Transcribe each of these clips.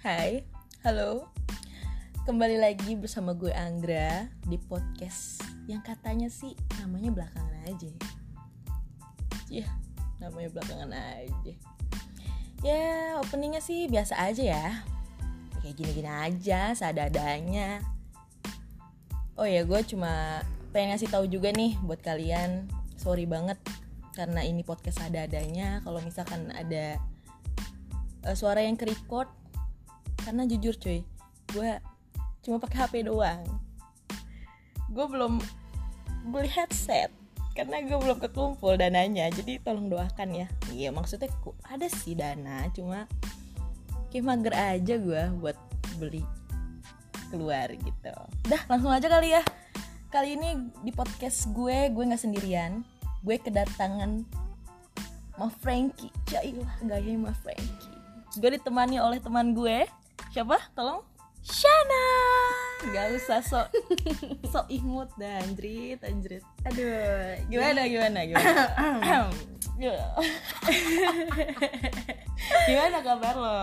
Hai, halo. Kembali lagi bersama gue Anggra di podcast yang katanya sih namanya belakangan aja. Ya, namanya belakangan aja. Ya, openingnya sih biasa aja ya. Kayak gini-gini aja, seadanya. Oh ya, gue cuma pengen ngasih tahu juga nih buat kalian. Sorry banget karena ini podcast ada-adanya. Kalau misalkan ada eh, suara yang ke-record karena jujur cuy gue cuma pakai HP doang gue belum beli headset karena gue belum kekumpul dananya jadi tolong doakan ya iya maksudnya ku- ada sih dana cuma kayak mager aja gue buat beli keluar gitu dah langsung aja kali ya kali ini di podcast gue gue nggak sendirian gue kedatangan Ma Frankie Ya Jailah gaya Ma Frankie Gue ditemani oleh teman gue Siapa? Tolong Shana. Gak usah sok Sok imut dah Anjrit Anjrit Aduh, Gimana gimana gimana Gimana kabar lo?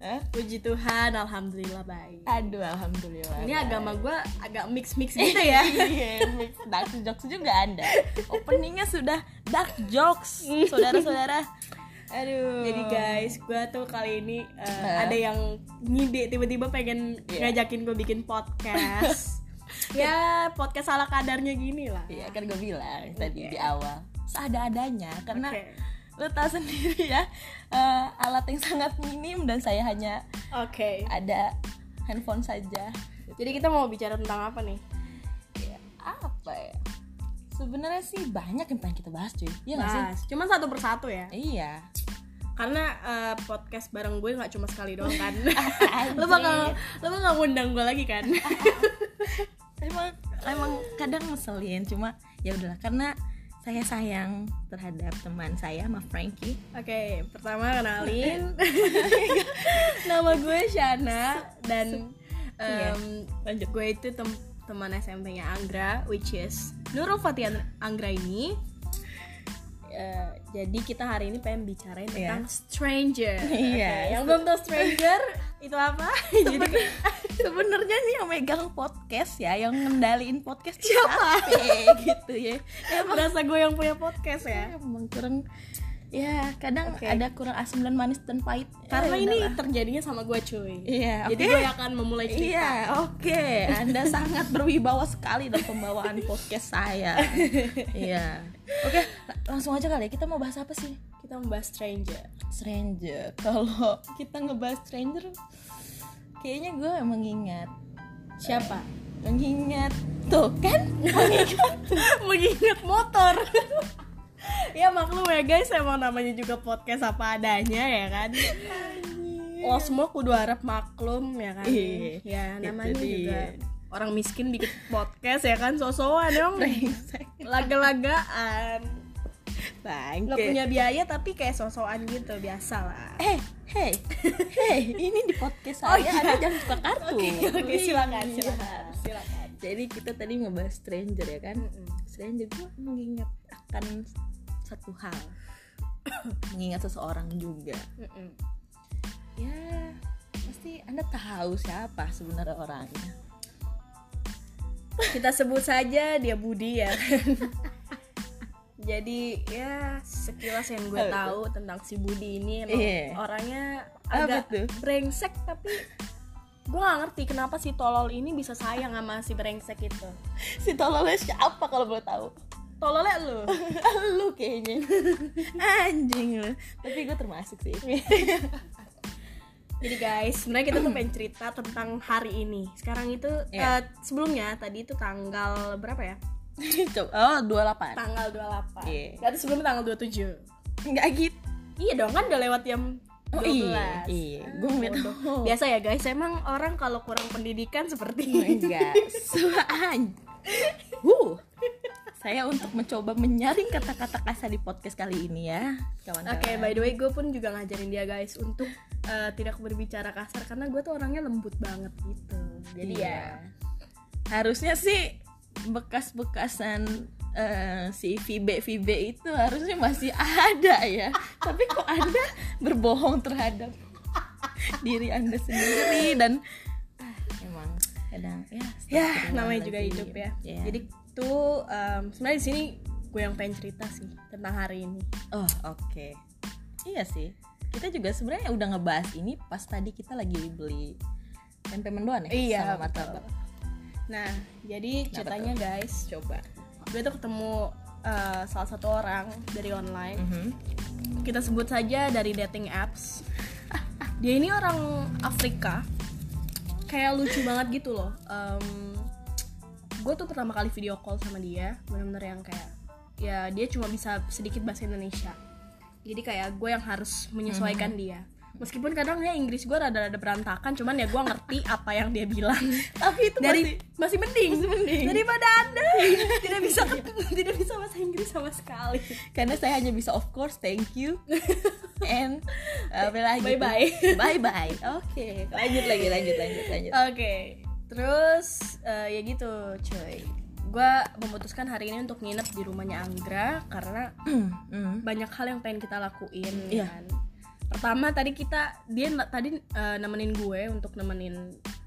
Hah? puji Tuhan, alhamdulillah baik. Aduh alhamdulillah Ini agama gua agak mix-mix gitu ya. Iya, mix dark jokes juga anda Openingnya sudah dark jokes Saudara-saudara Aduh Jadi guys, gua tuh kali ini uh, ada yang ngide tiba-tiba pengen Iya. ngajakin gua bikin podcast. ya, podcast ala kadarnya gini lah. Iya kan gue bilang tadi di awal seada-adanya karena Oke. lo tau sendiri ya eh, alat yang sangat minim dan saya hanya Oke. ada handphone saja. Jadi kita mau bicara tentang apa nih? Ya, apa ya? Sebenarnya sih banyak yang pengen kita bahas cuy. Iya nggak sih? Bahas. Cuman satu persatu ya. Iya. Karena uh, podcast bareng gue nggak cuma sekali doang kan. Anjir. lo bakal lo bakal ngundang gue lagi kan? Emang emang kadang ngeselin cuma ya udahlah karena saya sayang terhadap teman saya, sama Frankie. Oke, pertama kenalin nama gue Shana dan Iya, em, gue itu tem- teman SMP-nya Anggra, which is Nurul Fatih Ang- Anggra ini. Eh, jadi kita hari ini pengen bicarain Iya. tentang stranger. Iya. Oke, Yang belum tau stranger itu apa? Jadi Seben- sebenarnya sih yang megang podcast ya yang ngendaliin podcast tuh siapa gitu ya kayak berasa gue yang punya podcast ya. emang Iya, kurang ya kadang Oke. ada kurang asam dan manis dan pahit Karena Ya, ini udahlah. terjadinya sama gue cuy. iya Jadi oke gue akan memulai cerita. iya oke anda sangat berwibawa sekali dalam pembawaan podcast saya iya oke la- langsung aja kali ya kita mau bahas apa sih Kita membahas stranger. stranger kalau kita ngebahas stranger kayaknya gue mengingat Siapa? mengingat tuh kan mengingat mengingat motor ya maklum ya guys emang namanya juga podcast apa adanya ya kan lo semua kudu harap maklum ya kan Iya, ya itu namanya dia. juga orang miskin bikin podcast ya kan sosokan dong brengsek laga-lagaan bangke nggak punya biaya tapi kayak sosokan gitu biasa lah eh hey hey ini di podcast saya Oh, iya. ada jangan buka kartu oke silakan Iya. silakan silakan jadi kita tadi ngebahas stranger ya kan stranger gue mengingat akan satu hal mengingat seseorang juga Mm-mm. ya pasti anda tahu siapa sebenarnya orangnya kita sebut saja dia Budi ya kan? jadi ya sekilas yang gue Apa tahu tentang si Budi ini emang Iya. orangnya Apa agak tuh? brengsek tapi gue gak ngerti kenapa si tolol ini bisa sayang sama si brengsek itu si tololnya siapa kalau boleh tahu tololnya ya lu lu kayaknya anjing lu tapi gue termasuk sih jadi guys sebenarnya kita tuh pengen cerita tentang hari ini sekarang itu Iya. eh, sebelumnya tadi itu tanggal berapa ya Coba- oh 28 tanggal 28 Iya. Berarti sebelumnya tanggal 27 nggak gitu iya dong kan udah lewat jam 12 Oh, iya, iya. Ah, Gua ngeliat- bodoh. Biasa ya guys, emang orang kalau kurang pendidikan seperti ini enggak Oh suan Huh. saya untuk mencoba menyaring kata-kata kasar di podcast kali ini ya kawan-kawan Oke, by the way gue pun juga ngajarin dia guys untuk eh, tidak berbicara kasar karena gue tuh orangnya lembut banget gitu. Jadi Iya. ya, harusnya sih bekas-bekasan eh, si Vibe Vibe itu harusnya masih ada ya tapi kok anda berbohong terhadap diri anda sendiri dan ah, emang kadang ya ya astagfirullahaladzim. namanya juga hidup ya Iya. jadi tuh em, sebenarnya di sini gue yang pengen cerita sih tentang hari ini oh oke iya sih kita juga sebenarnya udah ngebahas ini pas tadi kita lagi beli tempe mendoan ya Iya, sama martabak nah jadi Kenapa ceritanya guys coba gue tuh ketemu eh, salah satu orang dari online Mhm. kita sebut saja dari dating apps dia ini orang Afrika kayak lucu banget gitu loh gue tuh pertama kali video call sama dia bener-bener yang kayak ya dia cuma bisa sedikit bahasa Indonesia jadi kayak gue yang harus menyesuaikan dia meskipun kadang ya Inggris gue rada-rada berantakan cuman ya gue ngerti apa yang dia bilang tapi itu dari masih, mending mending. daripada anda tidak bisa tidak bisa bahasa Inggris sama sekali karena saya hanya bisa of course thank you and uh, apa lagi tuh? Bye-bye. bye-bye oke lanjut lagi lanjut lanjut lanjut Oke, terus eh, ya gitu, cuy. Gua memutuskan hari ini untuk nginep di rumahnya Anggra karena Mm. banyak hal yang pengen kita lakuin, Iya. kan. Pertama tadi kita dia na- tadi eh, nemenin gue untuk nemenin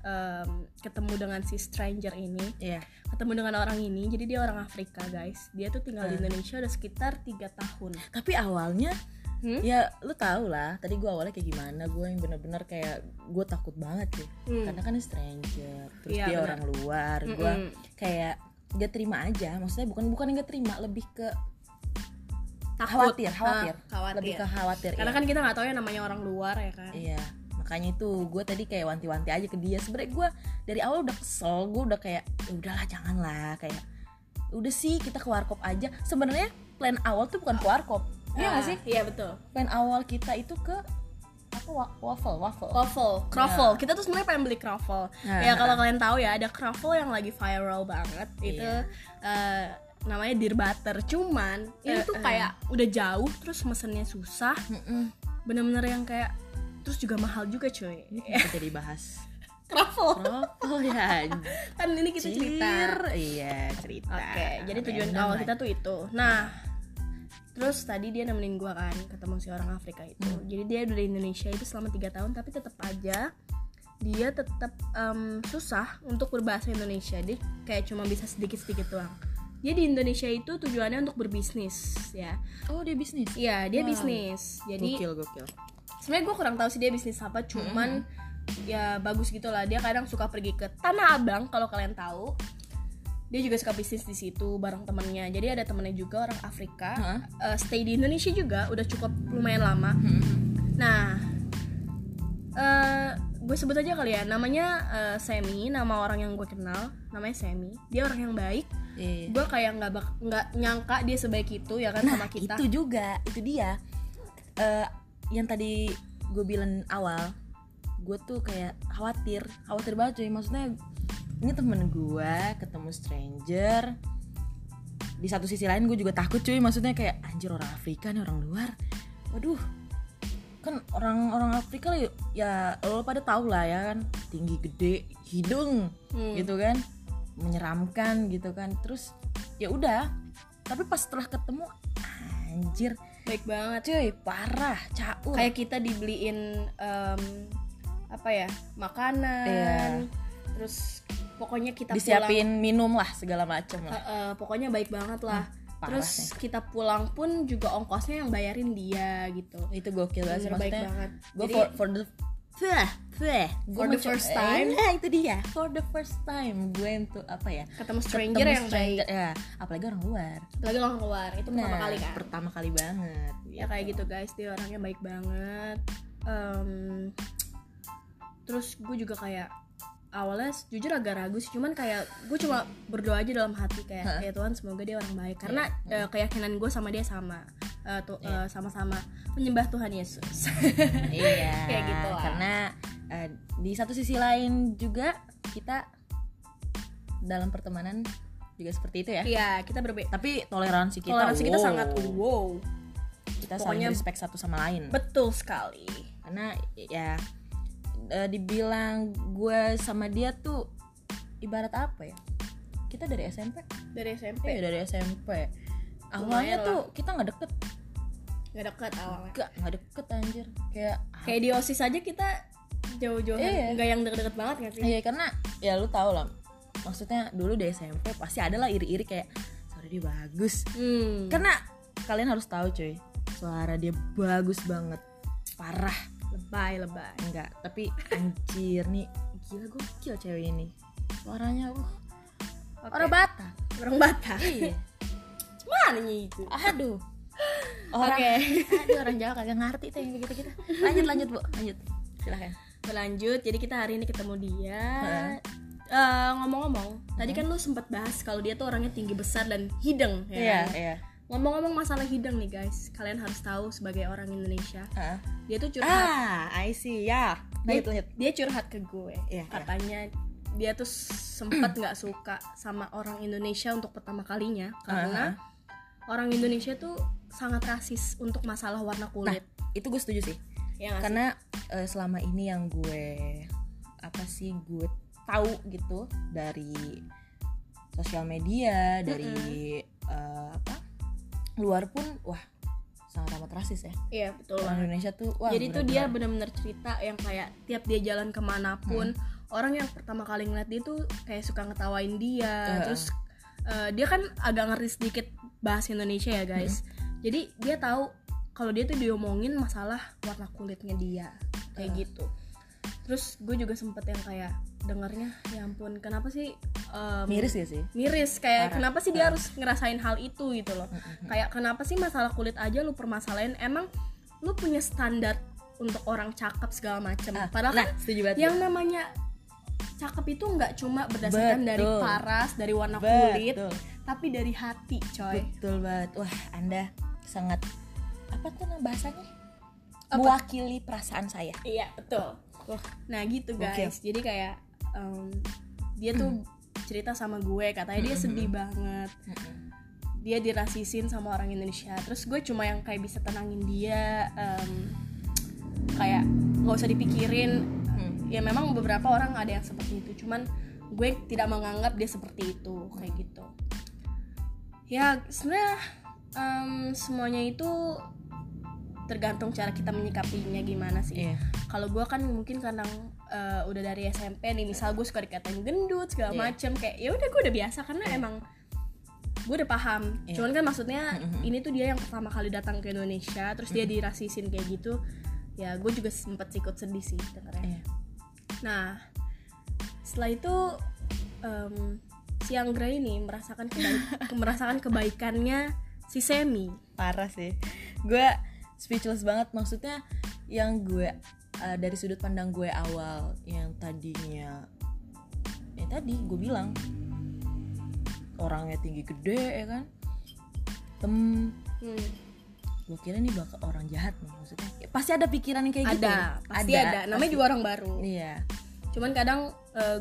em, ketemu dengan si stranger ini, Iya. ketemu dengan orang ini. Jadi dia orang Afrika, guys. Dia tuh tinggal di Hmm. Indonesia udah sekitar tiga tahun. tapi awalnya Hmm? ya lu tau lah tadi gue awalnya kayak gimana gue yang bener-bener kayak gue takut banget sih Hmm. karena kan stranger terus Iya, Hmm, dia benar. orang luar gue Mm-mm. kayak gak terima aja maksudnya bukan bukan yang gak terima lebih ke Takut. khawatir Ah, khawatir, khawatir. lebih ke khawatir Karena iya. kan kita nggak tahu ya namanya orang luar ya kan. Iya, makanya itu gue tadi kayak wanti-wanti aja ke dia. Sebenernya gue dari awal udah kesel, gue udah kayak ya udahlah janganlah kayak udah sih kita ke warkop aja. Sebenarnya plan awal tuh bukan ke warkop, iya Ah, nggak sih? Iya betul. Plan awal kita itu ke apa wa- waffle waffle. Croffle, croffle. Kita tuh sebenarnya pengen beli croffle. Nah. Ya Iya. kalau kalian tahu ya ada croffle yang lagi viral banget itu eh, namanya dear butter. Cuman ini Eh, tuh eh. kayak udah jauh terus mesennya susah. Mm-mm. Bener-bener yang kayak terus juga mahal juga cuy. Ini kenapa iya. jadi bahas Croffle waffle ya? kan ini kita cerita. anjir. Iya cerita. Oke, jadi tujuan Random awal lah. kita tuh itu. Nah, terus tadi dia nemenin gua kan ketemu si orang Afrika itu. Jadi dia udah di Indonesia itu selama tiga tahun, tapi tetap aja dia tetap em, susah untuk berbahasa Indonesia. Dia kayak cuma bisa sedikit-sedikit doang. Dia di Indonesia itu tujuannya untuk berbisnis, ya. Oh dia bisnis. Iya, dia Wow. bisnis. Jadi Gokil gokil. sebenarnya gue kurang tahu sih dia bisnis apa cuman ya bagus gitu lah dia kadang suka pergi ke tanah abang kalau kalian tahu dia juga suka bisnis di situ bareng temennya jadi ada temennya juga orang Afrika Hah? eh, stay di Indonesia juga udah cukup lumayan lama Mm-hmm. nah eh gue sebut aja kali ya namanya eh, Semi nama orang yang gue kenal namanya Semi dia orang yang baik Iya. Nah, gue kayak nggak bak- nggak nyangka dia sebaik itu ya kan sama kita itu juga itu dia Eh, yang tadi gue bilang awal gue tuh kayak khawatir khawatir banget cuy maksudnya ini temen gue ketemu stranger di satu sisi lain gue juga takut cuy maksudnya kayak anjir orang Afrika nih orang luar waduh kan orang-orang Afrika ya- ya lo pada tau lah ya kan tinggi gede hidung Hmm. gitu kan menyeramkan gitu kan terus ya udah tapi pas setelah ketemu anjir baik banget cuy parah caur kayak kita dibeliin em, apa ya makanan Iya. terus pokoknya kita pulang disiapin minum lah segala macem Eh, lah eh, pokoknya baik banget lah Hmm, parah terus kita pulang pun juga ongkosnya yang bayarin dia gitu itu gokil banget sih. Bener baik maksudnya banget gue Jadi, for, for the Fuh, fuh. Gua For the mencoba- first time. Iya, itu dia for the first time gue untuk apa ya ketemu stranger ketemu yang stranger, baik ya, apalagi orang luar lagi orang keluar itu pertama Nah, kali kan pertama kali banget Iya. ya kayak gitu guys dia orangnya baik banget Em, terus gue juga kayak awalnya jujur agak ragu sih cuman kayak gue cuma berdoa aja dalam hati Hah? Iya. kayak ya Tuhan semoga dia orang baik karena eh, keyakinan gue sama dia sama Eh, tu- eh, sama-sama menyembah Tuhan Yesus iya Kayak gitu lah. karena eh, di satu sisi lain juga kita dalam pertemanan juga seperti itu ya Iya kita berbeda tapi toleransi kita toleransi kita wow. sangat wow kita Pokoknya- saling respect satu sama lain betul sekali karena ya eh, dibilang gue sama dia tuh ibarat apa ya kita dari SMP dari Iya SMP dari SMP awalnya Lumayan lah. tuh kita nggak deket nggak deket awalnya gak nggak deket anjir kayak ah, kayak di osis aja kita jauh-jauh Iya. nggak yang deket-deket banget nggak sih Iya karena ya lu tau lah maksudnya dulu di SMP pasti ada lah iri-iri kayak suara dia bagus hmm. karena kalian harus tahu cuy suara dia bagus banget parah lebay lebay enggak tapi anjir nih gila gokil cewek ini suaranya uh. wah Oke. orang Batak orang Batak iya mana itu aduh orang Oke. aduh orang Jawa kagak ngerti tuh yang begitu kita lanjut lanjut bu lanjut silahkan berlanjut jadi kita hari ini ketemu dia Heeh. Eh, ngomong-ngomong tadi kan lu sempat bahas kalau dia tuh orangnya tinggi besar dan hidung ya iya kan? iya ngomong-ngomong masalah hidung nih guys kalian harus tahu sebagai orang Indonesia Heeh. dia tuh curhat ah I see ya dia, lanjut lanjut dia curhat ke gue Iya, iya. katanya dia tuh sempet nggak suka sama orang Indonesia untuk pertama kalinya karena orang Indonesia tuh sangat rasis untuk masalah warna nah kulit itu gue setuju sih ya nggak sih? karena eh, selama ini yang gue apa sih gue tahu gitu dari sosial media dari eh, apa luar pun wah sangat amat rasis ya iya betul banget. orang Indonesia tuh wah Jadi tuh dia benar-benar cerita yang kayak tiap dia jalan kemanapun Hmm. orang yang pertama kali ngeliat dia tuh kayak suka ngetawain dia. Heeh. Terus eh, dia kan agak ngerti sedikit bahasa Indonesia ya guys. Hmm. Jadi dia tahu kalau dia tuh diomongin masalah warna kulitnya dia kayak Heeh. gitu. Terus gue juga sempet yang kayak dengarnya ya ampun kenapa sih eh, em, miris ya sih miris kayak Parah. kenapa sih dia harus ngerasain hal itu gitu loh Mm-mm. kayak kenapa sih masalah kulit aja lu permasalahin emang lu punya standar untuk orang cakep segala macem Ah, padahal nah kan setuju banget yang namanya cakep itu nggak cuma berdasarkan dari Betul. paras dari warna kulit betul tapi dari hati coy betul banget wah anda sangat apa tuh nama bahasanya Apa? mewakili perasaan saya iya betul nah gitu guys jadi kayak em, dia tuh cerita sama gue katanya dia sedih banget dia dirasisin sama orang Indonesia terus gue cuma yang kayak bisa tenangin dia em, kayak nggak usah dipikirin Hmm. ya memang beberapa orang ada yang seperti itu cuman gue tidak menganggap dia seperti itu kayak gitu ya sebenarnya em, semuanya itu tergantung cara kita menyikapinya gimana sih iya kalau gue kan mungkin kadang eh, udah dari SMP nih misal gue suka dikatain gendut segala Iya. macem kayak ya udah gue udah biasa karena emang gue udah paham Iya. cuman kan maksudnya Mhm. ini tuh dia yang pertama kali datang ke Indonesia terus dia dirasisin kayak gitu ya gue juga sempet sikut sedih sih dengernya iya nah setelah itu em, si Anggra ini merasakan kebaik- merasakan kebaikannya si Semi parah sih gue speechless banget maksudnya yang gue uh, dari sudut pandang gue awal yang tadinya ya tadi gue bilang orangnya tinggi gede ya kan tem Hmm, gue kira nih bakal orang jahat nih maksudnya Ya, pasti ada pikiran yang kayak gitu ada ya? pasti ada, namanya pasti. juga orang baru iya cuman kadang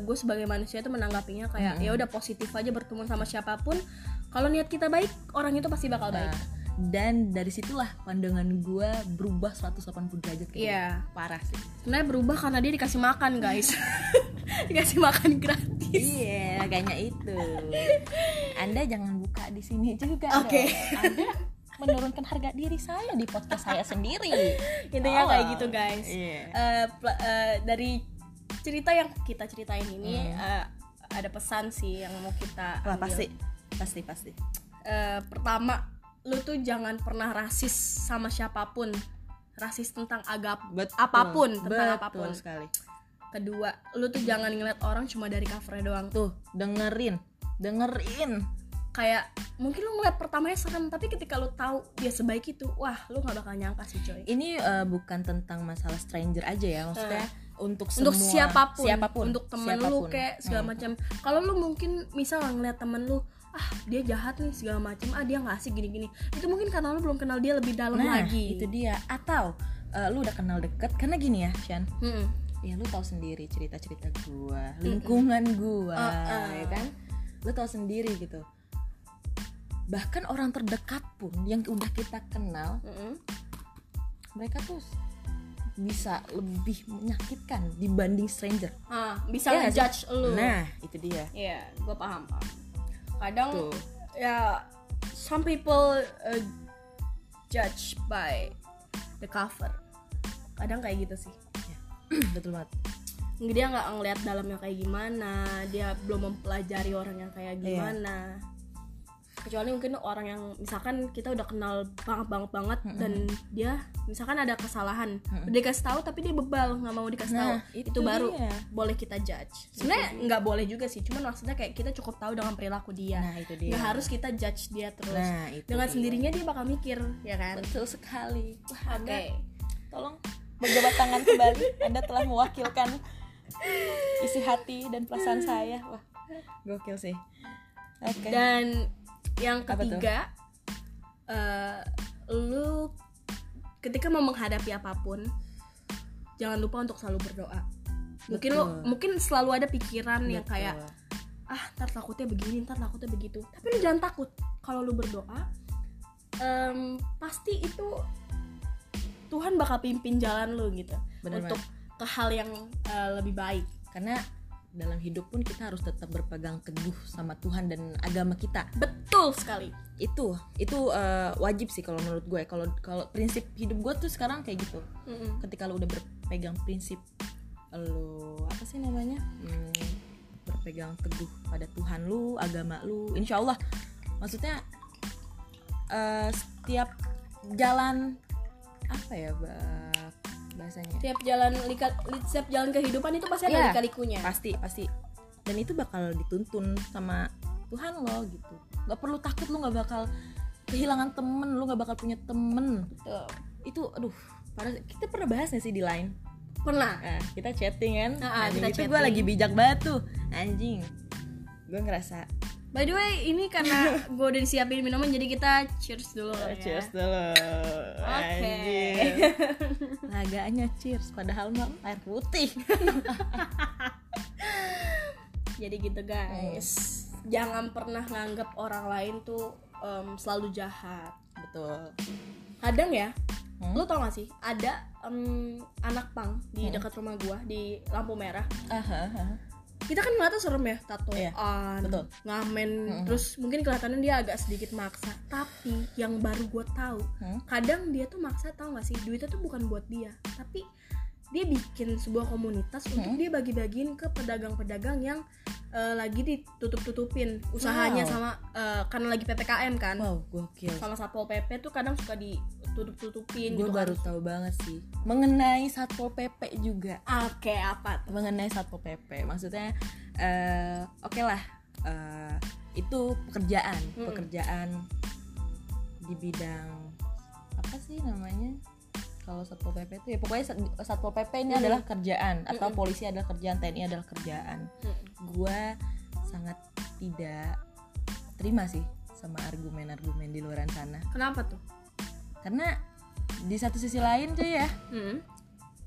gue sebagai manusia itu menanggapinya kayak ya udah positif aja bertemu sama siapapun kalau niat kita baik orang itu pasti bakal baik Nah, dan dari situlah pandangan gue berubah 180 derajat kayak Iya. gitu. parah sih sebenarnya berubah karena dia dikasih makan guys dikasih makan gratis Iya, makanya itu. Anda jangan buka di sini juga. Oke. dong. Anda menurunkan harga diri saya di podcast saya sendiri. intinya Oh. kayak gitu guys Iya. Eh, pla- eh, dari cerita yang kita ceritain ini Hmm. eh, ada pesan sih yang mau kita Wah, ambil. pasti. Pasti, pasti. Eh, pertama lu tuh jangan pernah rasis sama siapapun rasis tentang agama Betul. Apapun, tentang Betul apapun. sekali. kedua lu tuh jangan ngeliat orang cuma dari covernya doang Tuh, dengerin. Dengerin. kayak mungkin lu ngeliat pertamanya serem tapi ketika lu tahu dia sebaik itu wah lu nggak bakal nyangka sih coy Ini eh, bukan tentang masalah stranger aja ya, maksudnya untuk semua Nah. untuk siapapun, siapapun untuk temen lu siapapun. Nah, Hmm. kayak segala macam kalau lu mungkin misal ngeliat temen lu ah dia jahat nih segala macam ah dia nggak asik gini-gini itu mungkin karena lu belum kenal dia lebih dalam Nah, lagi Hmm. itu dia. Atau eh, lu udah kenal deket karena gini ya, Shan. Mm-mm. ya lu tahu sendiri cerita-cerita gua, lingkungan gua, Uh-uh. ya kan? Lu tahu sendiri gitu. Bahkan orang terdekat pun yang udah kita kenal, Mm-mm. mereka tuh bisa lebih menyakitkan dibanding stranger. ah bisa Iya nggak sih? ngejudge lu Nah, itu dia. Iya, gue paham paham. Kadang Tuh. ya some people uh, judge by the cover. Kadang kayak gitu sih. Betul banget. dia nggak ngeliat dalamnya kayak gimana dia belum mempelajari orang yang kayak Iya. gimana kecuali mungkin orang yang misalkan kita udah kenal banget banget banget dan dia misalkan ada kesalahan udah dikasih tahu tapi dia bebal nggak mau dikasih tahu Nah, itu, itu baru dia. boleh kita judge sebenarnya nggak boleh juga sih cuman maksudnya kayak kita cukup tahu dengan perilaku dia Nah, itu dia. nggak harus kita judge dia terus Nah, itu dengan dia. sendirinya dia bakal mikir ya kan Betul sekali. Wah, oke Anda, tolong berjabat tangan kembali. Anda telah mewakilkan isi hati dan perasaan saya. Wah, gokil sih. Oke. Dan yang Apa tuh? ketiga, eh, lu ketika mau menghadapi apapun, jangan lupa untuk selalu berdoa. Mungkin lu Betul. mungkin selalu ada pikiran yang Betul. kayak ah ntar takutnya begini, ntar takutnya begitu. Tapi lu jangan takut. Kalau lu berdoa, em, pasti itu Tuhan bakal pimpin jalan lu gitu Bener untuk ke hal yang eh, lebih baik. karena dalam hidup pun kita harus tetap berpegang teguh sama Tuhan dan agama kita. Betul sekali. Itu itu eh, wajib sih kalau menurut gue. Kalau kalau prinsip hidup gue tuh sekarang kayak gitu. Mm-mm. ketika lu udah berpegang prinsip lu apa sih namanya Hmm, berpegang teguh pada Tuhan lu agama lu insya Allah maksudnya eh, setiap jalan apa ya ba- bahasanya Tiap jalan lika- li- setiap jalan kehidupan itu pasti Iya. ada lika-likunya. pasti pasti dan itu bakal dituntun sama Tuhan lo gitu nggak perlu takut lu nggak bakal kehilangan temen lu nggak bakal punya temen Tuh. itu aduh parah. kita pernah bahas nggak sih di line Pernah. Nah, kita chatting kan Ah, ah, Anjing, kita itu gue chatting. lagi bijak banget tuh anjing gue ngerasa By the way, ini karena gue udah disiapin minuman jadi kita cheers dulu kali ya. Iya, cheers dulu Oke. anjing laganya cheers padahal mah air putih Jadi gitu guys. Hmm. Jangan pernah nganggap orang lain tuh em, selalu jahat. betul Kadang ya, Hmm? lo tau gak sih? Ada em, anak pang di dekat rumah gua di lampu merah. aha, aha. Kita kan ngeliatnya serem ya, tatoan, Iya, betul. Hmm, ngamen, terus mungkin kelihatannya dia agak sedikit maksa. Tapi yang baru gua tahu, Hmm? kadang dia tuh maksa tau gak sih duitnya tuh bukan buat dia tapi dia bikin sebuah komunitas Mm-hmm. untuk dia bagi-bagiin ke pedagang-pedagang yang eh, lagi ditutup-tutupin Wow. Oh, iya. usahanya sama eh, karena lagi ppkm kan wow gokil sama satpol pp tuh kadang suka ditutup-tutupin gue gitu baru kan. tahu banget sih mengenai satpol pp juga kan. oke apa tuh mengenai satpol pp maksudnya eh oke lah eh, itu pekerjaan Mm-mm. pekerjaan di bidang apa sih namanya kalau satpol pp itu ya pokoknya sat- satpol pp ini Mm-mm. adalah kerjaan atau Mm-mm. polisi adalah kerjaan tni adalah kerjaan Mm-mm. gua sangat tidak terima sih sama argumen-argumen di luaran sana kenapa tuh karena di satu sisi lain tuh ya Hmm.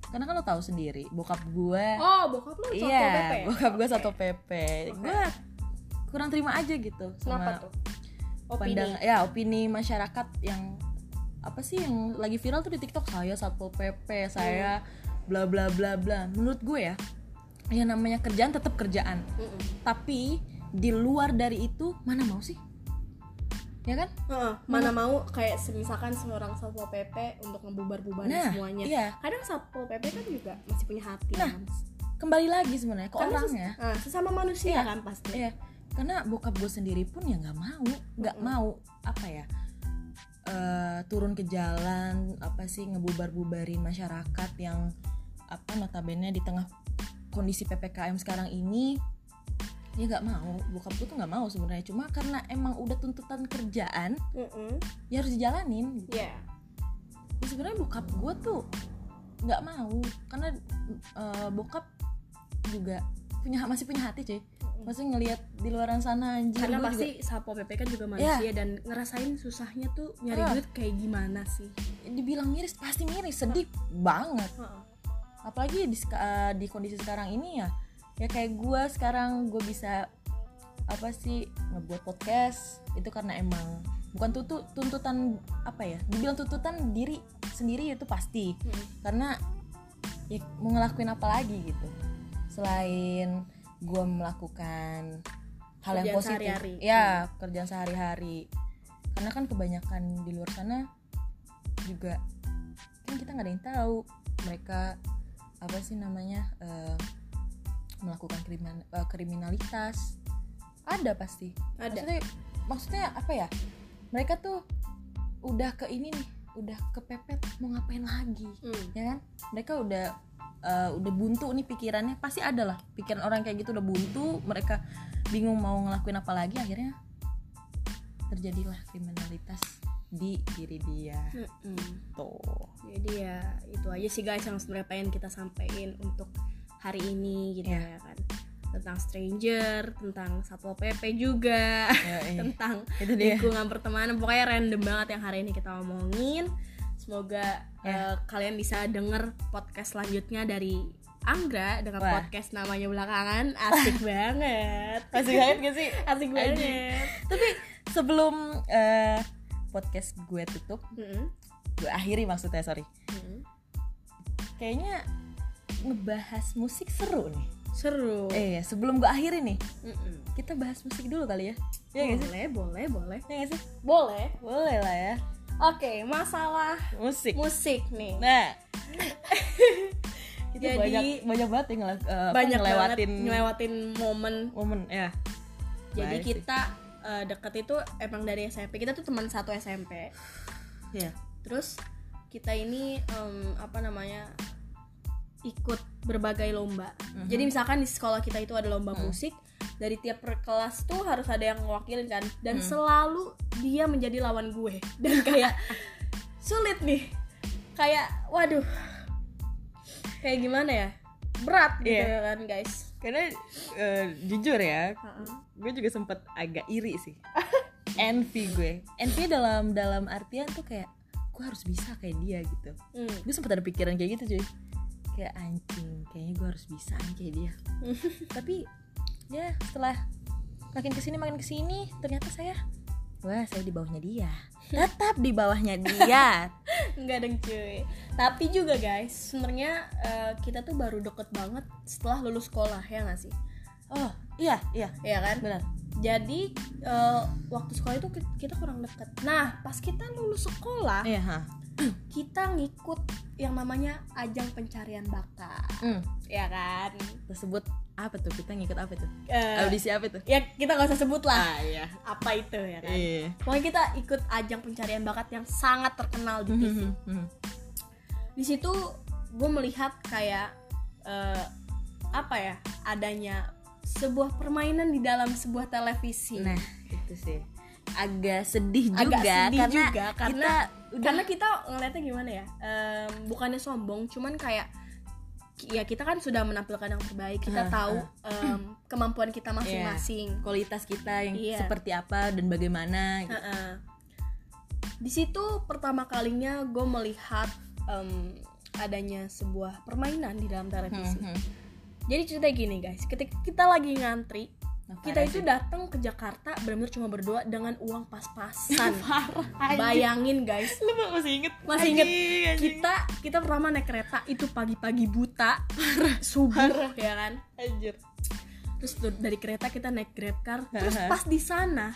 karena kan lo tahu sendiri bokap gua oh bokap lu satpol pp Iya, bokap gue ya? Oke. satu PP. Gue kurang terima aja gitu kenapa sama tuh opini pandang ya opini masyarakat yang apa sih yang lagi viral tuh di TikTok saya satpol PP, saya Hmm. bla bla bla bla. Menurut gue ya, yang namanya kerjaan tetap kerjaan. Mm-mm. Tapi di luar dari itu mana mau sih? Ya kan? Heeh, mana mau kayak semisalkan seorang satpol pp untuk ngebubar-bubarin Nah, semuanya iya. kadang satpol pp kan juga masih punya hati Nah, kan Kembali lagi sebenarnya ke Karena ses- orangnya. eh, sesama Iya. manusia kan pasti Iya, karena bokap gue sendiri pun ya nggak mau, nggak Mm-mm. mau apa ya eh, turun ke jalan apa sih ngebubar-bubarin masyarakat yang apa notabene di tengah kondisi ppkm sekarang ini dia nggak mau, bokap gue tuh nggak mau sebenarnya, cuma karena emang udah tuntutan kerjaan Mm-mm. ya harus dijalanin. gitu. Iya. Ya, sebenarnya bokap gue tuh nggak mau, karena eh, bokap juga punya masih punya hati cuy masih ngelihat di luaran sana anjir karena gua juga- Iya. pasti satpol pp kan juga manusia dan ngerasain susahnya tuh nyari Ah. duit kayak gimana sih dibilang miris pasti miris sedih banget Heeh. apalagi di seka- eh, di kondisi sekarang ini ya ya kayak gue sekarang gue bisa apa sih ngebuat podcast itu karena emang bukan tutu, tuntutan apa ya dibilang tuntutan diri sendiri itu pasti Mm-mm. karena ya mau ngelakuin apa lagi gitu selain gue melakukan hal yang Kerjaan positif sehari-hari. ya kerjaan sehari-hari karena kan kebanyakan di luar sana juga kan kita nggak ada yang tahu mereka apa sih namanya eh, melakukan krimin- eh, kriminalitas ada pasti Ada. maksudnya maksudnya apa ya mereka tuh udah ke ini nih udah kepepet mau ngapain lagi Hmm. ya kan mereka udah eh, udah buntu nih pikirannya pasti ada lah pikiran orang kayak gitu udah buntu mereka bingung mau ngelakuin apa lagi akhirnya terjadilah kriminalitas di diri dia Mm-mm. tuh Jadi ya itu aja sih guys yang sebenarnya pengen kita sampaikan untuk hari ini gitu Iya. ya kan tentang stranger, tentang satpol pp juga, Iya. tentang itu dia lingkungan pertemanan pokoknya random banget yang hari ini kita omongin semoga eh, Ya. kalian bisa denger podcast selanjutnya dari Anggra dengan Wah. podcast namanya belakangan asik banget masih banget gak sih asik banget tapi sebelum eh, podcast gue tutup Mm-mm. gue akhiri maksudnya sorry Mm-mm. kayaknya ngebahas musik seru nih seru eh sebelum gue akhiri nih Mm-mm. kita bahas musik dulu kali ya Iya nggak sih boleh boleh boleh Iya nggak sih boleh boleh lah ya oke masalah musik musik nih nah kita Jadi- banyak banyak banget yang ngela- eh, apa, banyak ngelewatin banget ngelewatin momen momen ya jadi Baik sih. kita eh, deket itu emang dari SMP kita tuh teman satu SMP ya Iya. terus kita ini em, apa namanya ikut berbagai lomba Mhm. jadi misalkan di sekolah kita itu ada lomba Mhm. musik dari tiap per kelas tuh harus ada yang mewakilin kan Mhm. dan selalu dia menjadi lawan gue dan kayak sulit nih kayak waduh kayak gimana ya berat gitu Iya. kan guys karena eh, jujur ya Heeh. gue juga sempet agak iri sih envy gue envy dalam dalam artian tuh kayak gue harus bisa kayak dia gitu Hmm. gue sempet ada pikiran kayak gitu cuy kayak anjing kayaknya gue harus bisa nih kayak dia tapi ya setelah makin kesini makin kesini ternyata saya wah saya di bawahnya dia tetap di bawahnya dia Enggak dong cuy Tapi juga guys sebenarnya eh, kita tuh baru deket banget setelah lulus sekolah ya gak sih? oh iya iya Iya kan? benar Jadi eh, waktu sekolah itu ki- kita kurang deket Nah pas kita lulus sekolah iya ha kita ngikut yang namanya ajang pencarian bakat hmm. Ya kan? tersebut apa tuh kita ngikut apa tuh Eh, audisi apa tuh ya kita gak usah sebut lah ah iya apa itu ya kan? iya Pokoknya kita ikut ajang pencarian bakat yang sangat terkenal di TV Hmm. di situ gue melihat kayak eh, apa ya adanya sebuah permainan di dalam sebuah televisi Nah, itu sih agak sedih juga Agak sedih karena juga, karena- kita udah karena kita ngeliatnya gimana ya em, bukannya sombong cuman kayak ya kita kan sudah menampilkan yang terbaik Ah, kita tahu em, kemampuan kita Iya. masing-masing kualitas kita yang Iya. seperti apa dan bagaimana gitu. Heeh. di situ pertama kalinya gue melihat em, adanya sebuah permainan di dalam televisi Hmm, hmm. jadi cerita gini guys ketika kita lagi ngantri Nah, kita parah itu sih. datang ke Jakarta benar-benar cuma berdua dengan uang pas-pasan parah. Bayang. bayangin guys Lu masih inget? Masih inget. inget. kita kita pertama naik kereta itu pagi-pagi buta subuh ya kan Anjir. terus tu- dari kereta kita naik grab car terus Aha. pas di sana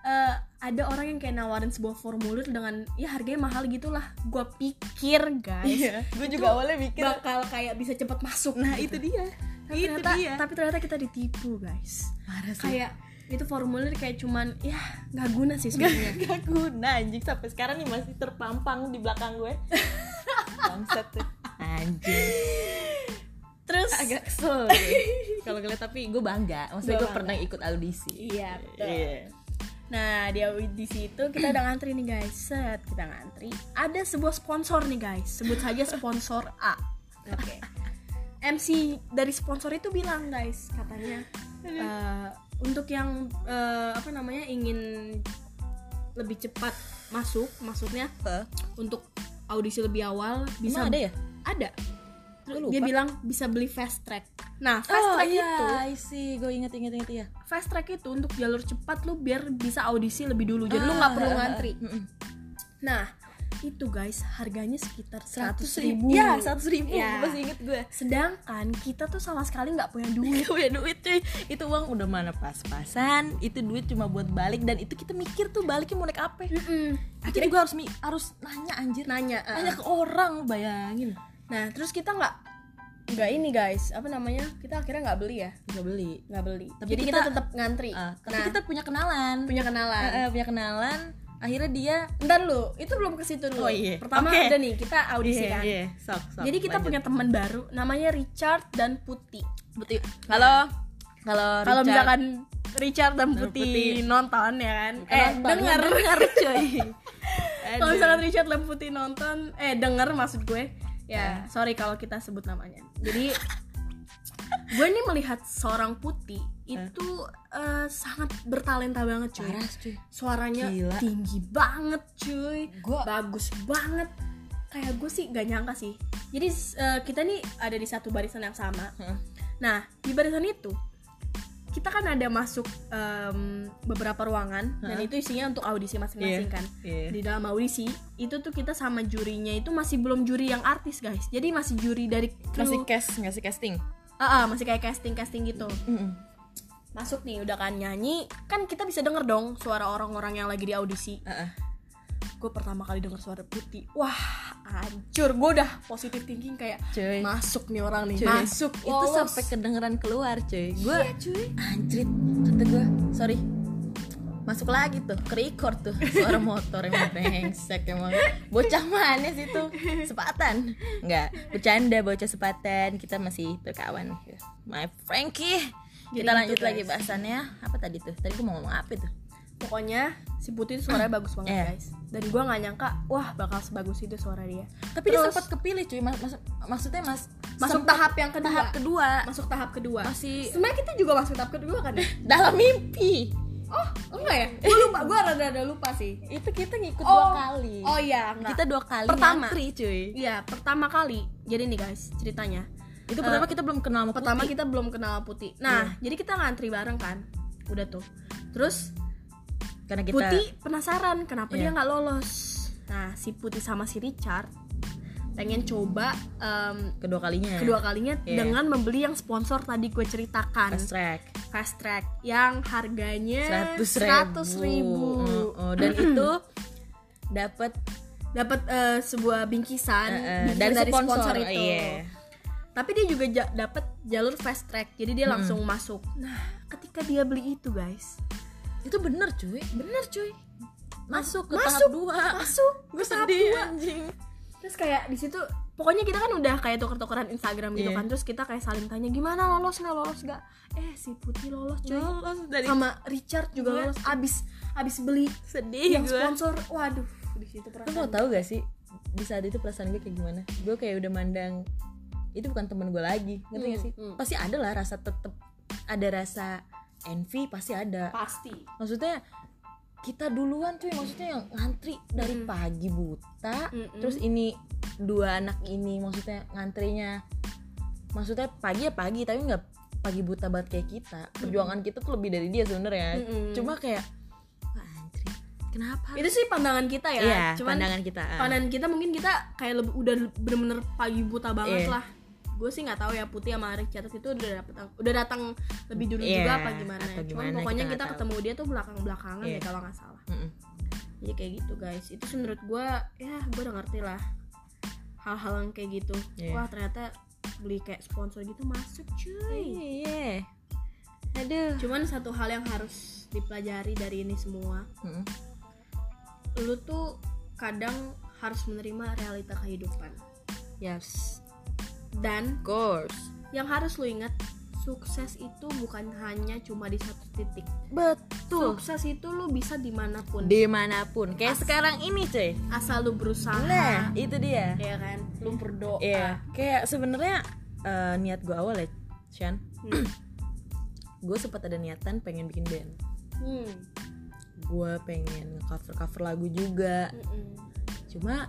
eh, ada orang yang kayak nawarin sebuah formulir dengan ya harganya mahal gitulah gua pikir guys Iya. Gue juga awalnya mikir. bakal kayak bisa cepet masuk Nah gitu. itu dia. tapi itu ternyata dia. tapi ternyata kita ditipu guys Parah sih. kayak itu formulir kayak cuman ya nggak guna sih sebenarnya Gak guna anjing sampai sekarang nih masih terpampang di belakang gue. Bangsat tuh. Anjing. terus Agak kesel. gue. Kalau ngeliat tapi gue bangga. Maksudnya Gue gue pernah ikut audisi. iya betul Iya. nah di di situ kita udah ngantri nih guys set kita ngantri ada sebuah sponsor nih guys sebut saja sponsor A oke MC dari sponsor itu bilang guys katanya eh, untuk yang eh, apa namanya ingin lebih cepat masuk maksudnya untuk audisi lebih awal bisa Emang ada ya? ada Gue lupa. Ah, dia Oh, iya. bilang bisa beli fast track nah fast track itu sih gue inget inget inget ya. fast track itu untuk jalur cepat lu biar bisa audisi lebih dulu jadi Ah, lu nggak perlu ngantri nah itu guys harganya sekitar 100 ribu Ya seratus ribu. Ya. Masih inget gue. sedangkan kita tuh sama sekali nggak punya duit Gak punya duit cuy Itu uang udah mana pas-pasan Itu duit cuma buat balik Dan itu kita mikir tuh baliknya mau naik apa Mm-mm. Akhirnya gue harus mi- harus nanya uh-uh. anjir Ya, nanya eh. Nanya ke orang bayangin nah terus kita nggak nggak ini guys apa namanya kita akhirnya nggak beli ya nggak beli nggak beli Tapi jadi kita, kita- tetap ngantri Ah, tapi nah kita punya kenalan punya kenalan Eh, eh, punya kenalan akhirnya dia ntar lu itu belum ke situ Oh, dulu iya. pertama Oke. udah nih kita audisi kan Iya, Sok, sok, jadi kita lanjut. punya teman baru namanya Richard dan Putih Putih. Halo. Kalau kalau Richard- misalkan Richard dan Dan Putih, Putih. nonton ya kan Bukan eh nonton, dengar dengar cuy. kalau misalkan Richard dan Putih nonton eh denger maksud gue ya sorry kalau kita sebut namanya jadi gue nih melihat seorang Putih itu eh, sangat bertalenta banget cuy Parah, cuy. suaranya Gila. tinggi banget cuy Gua- bagus banget kayak gue sih gak nyangka sih jadi s- eh, kita nih ada di satu barisan yang sama Heeh. nah di barisan itu kita kan ada masuk em, beberapa ruangan dan itu isinya untuk audisi masing-masing Iya. kan Iya. di dalam audisi itu tuh kita sama jurinya itu masih belum juri yang artis guys jadi masih juri dari kru Masih cast, ngasih casting. Ah, ah, masih kayak casting casting gitu masuk nih udah kan nyanyi kan kita bisa denger dong suara orang-orang yang lagi di audisi Heeh. gue pertama kali denger suara putih wah hancur gue udah positive thinking kayak Cuy. masuk nih orang nih Cuy, masuk itu sampai kedengeran keluar cuy gue iya cuy anjrit kata gue sorry masuk lagi tuh ke record tuh suara motor emang brengsek emang bocah manis itu sepatan nggak bercanda bocah sepatan kita masih berkawan my Frankie Jadi kita gitu, lanjut guys. lagi bahasannya apa tadi tuh tadi gue mau ngomong apa tuh pokoknya si putih itu suaranya bagus banget Iya. guys dan gue nggak nyangka wah bakal sebagus itu suara dia tapi dia Terus- sempat kepilih cuy mas, mas- maksudnya mas masuk sempat tahap yang kedua tahap kedua masuk tahap kedua Masih- sebenarnya kita juga masuk tahap kedua kan ya? dalam mimpi oh enggak ya gue lupa gue rada-rada lupa sih itu kita ngikut Oh. dua kali oh iya enggak. kita dua kali Pertama. ngantri, cuy iya pertama kali jadi nih guys ceritanya itu Eh, pertama kita belum kenal sama Hmm. pertama kita belum kenal putih nah jadi kita ngantri bareng kan udah tuh terus putih karena kita putih penasaran kenapa Iya. dia nggak lolos nah si putih sama si Richard pengen coba em, kedua kalinya kedua kalinya Iya. dengan membeli yang sponsor tadi gue ceritakan fast track fast track yang harganya seratus 100.000 ribu Oh, dan itu dapat dapat eh, sebuah bingkisan eh, eh, bingkisan dari, sponsor, itu Iya. tapi dia juga ja- dapat jalur fast track jadi Mm. dia langsung masuk nah ketika dia beli itu guys itu bener cuy bener cuy masuk ke Masuk. tahap dua masuk Ah, gue ke tahap sedih dua. anjing terus kayak di situ pokoknya kita kan udah kayak tuker-tukeran Instagram gitu Iya. kan terus kita kayak saling tanya gimana lolos nggak lolos nggak eh si Putih lolos cuy Lolos Iya. dari sama Richard juga Gue- lolos abis abis beli sedih yang gue sponsor waduh di situ lu mau perasaan tahu gak sih di saat itu perasaan gue kayak gimana gue kayak udah mandang itu bukan temen gue lagi ngerti gak Hmm, sih hmm. pasti ada lah rasa tetep ada rasa envy pasti ada pasti maksudnya kita duluan cuy maksudnya yang ngantri dari Mm. pagi buta Mm-mm. terus ini dua anak ini maksudnya ngantrinya maksudnya pagi ya pagi tapi nggak pagi buta banget kayak kita perjuangan kita tuh lebih dari dia sebenarnya Mm-mm. cuma kayak wah antri kenapa itu sih pandangan kita ya iya cuman pandangan kita ah. pandangan kita mungkin kita kayak lebih udah bener-bener pagi buta banget Iya. lah gue sih nggak tahu ya putih sama Richard itu udah dapet udah datang lebih dulu Iya, juga apa gimana, atau ya. cuman gimana, kita pokoknya kita, nggak tahu. ketemu dia tuh belakang belakangan Iya. ya kalau nggak salah Mm-mm. jadi kayak gitu guys itu sih menurut gue ya gue udah ngerti lah hal-hal yang kayak gitu Iya. wah ternyata beli kayak sponsor gitu masuk cuy iya aduh cuman satu hal yang harus dipelajari dari ini semua Mm-mm. lu tuh kadang harus menerima realita kehidupan yes dan of course yang harus lu ingat sukses itu bukan hanya cuma di satu titik betul sukses itu lu bisa dimanapun dimanapun kayak sekarang ini cuy asal lu berusaha nah itu dia ya kan lu berdoa Iya, kayak sebenarnya eh, niat gue awal ya, Chan. Hmm. Gue sempat ada niatan pengen bikin band. Hmm. Gue pengen cover cover lagu juga. Mm-mm. Cuma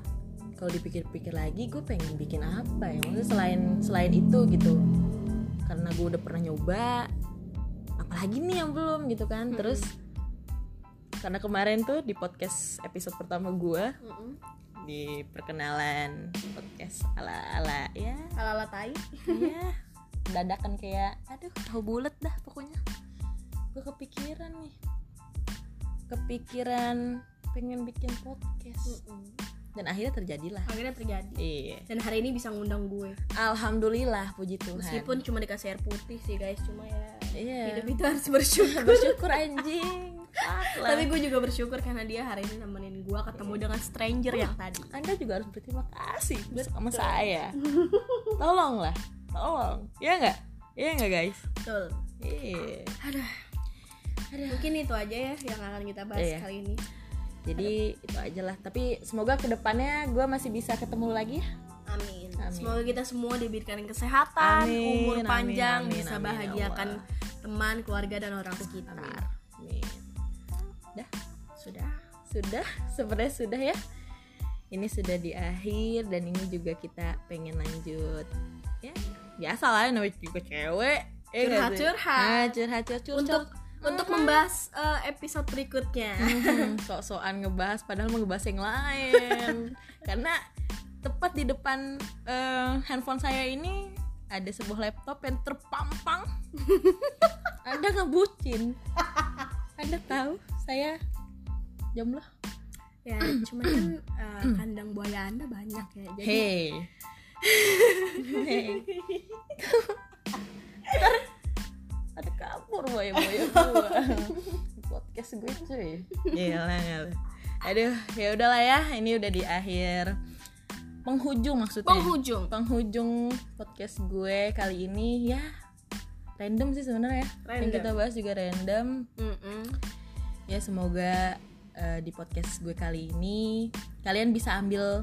kalau dipikir-pikir lagi, gue pengen bikin apa ya? Maksudnya selain selain itu gitu. Karena gue udah pernah nyoba. Apalagi nih yang belum gitu kan. Mm-mm. Terus karena kemarin tuh di podcast episode pertama gue Mm-mm. di perkenalan podcast ala-ala ya ala-ala tai Iya dadakan kayak aduh tahu bulat dah pokoknya gue kepikiran nih kepikiran pengen bikin podcast Mm-mm. dan akhirnya terjadilah akhirnya terjadi iya dan hari ini bisa ngundang gue alhamdulillah puji Tuhan meskipun cuma dikasih air putih sih guys cuma ya iya hidup itu harus bersyukur bersyukur anjing Fuck lah. tapi gue juga bersyukur karena dia hari ini nemenin gue ketemu Iya. dengan stranger yang tadi Anda juga harus berterima kasih sama saya. Tolonglah, tolong. Iya nggak? Iya nggak guys? betul Iya. aduh mungkin itu aja ya yang akan kita bahas Iya. kali ini Jadi itu aja lah. Tapi semoga kedepannya gue masih bisa ketemu lagi ya. Amin. Amin. Semoga kita semua diberikan kesehatan, Amin, umur amin, panjang, amin, bisa amin, bahagiakan teman, keluarga dan orang sekitar. Amin. Dah, Sudah. sudah. Sebenarnya sudah ya. Ini sudah di akhir dan ini juga kita pengen lanjut. Ya, biasa lah namanya juga cewek. Iya, Eh, nggak sih? Curhat-curhat. Ah, curhat-curhat. Untuk curhat. untuk membahas eh, episode berikutnya. Hmm, sok-sokan ngebahas padahal mau ngebahas yang lain karena tepat di depan eh, handphone saya ini ada sebuah laptop yang terpampang anda ngebucin anda tahu saya jomblo ya, cuman kan eh, kandang buaya Anda banyak ya. Jadi hey hey Ntar ada kabur boy boy gua podcast gue cuy Gila ngalah. aduh ya udahlah ya ini udah di akhir penghujung maksudnya penghujung. penghujung podcast gue kali ini ya random sih sebenarnya ya. yang Random. kita bahas juga random Mm-mm. ya semoga eh, di podcast gue kali ini kalian bisa ambil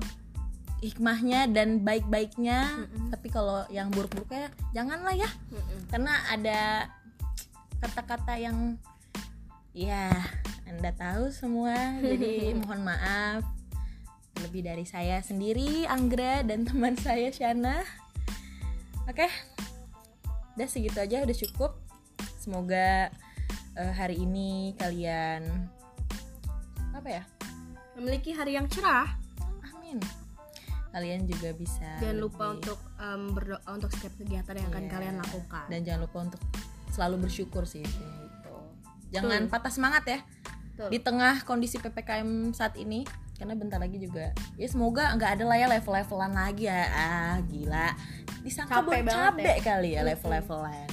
hikmahnya dan baik-baiknya Mm-mm. tapi kalau yang buruk-buruknya janganlah ya Mm-mm. karena ada kata-kata yang ya anda tahu semua jadi mohon maaf lebih dari saya sendiri Anggra dan teman saya Shana oke udah segitu aja udah cukup semoga eh, hari ini kalian apa ya Memiliki hari yang cerah. amin kalian juga bisa Jangan lupa lebih- untuk em, berdoa untuk setiap kegiatan yang akan Iya. kalian lakukan. dan jangan lupa untuk selalu bersyukur sih intinya gitu jangan Betul. patah semangat ya Betul. di tengah kondisi ppkm saat ini karena bentar lagi juga ya semoga nggak ada lah ya level-levelan lagi ya ah gila disangka Capek capek banget capek kali ya Mm-mm. level-levelan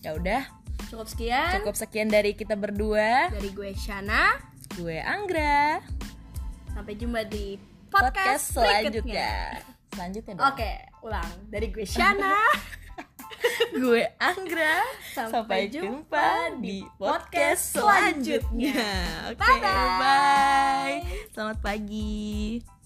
ya udah Cukup sekian cukup sekian dari kita berdua dari gue Shana. gue Anggra Sampai jumpa di podcast, podcast, selanjutnya berikutnya. selanjutnya dong. Oke, ulang dari gue Shana. gue Anggra Sampai sampai, jumpa di podcast selanjutnya. Oke, Bye-bye. bye. Selamat pagi.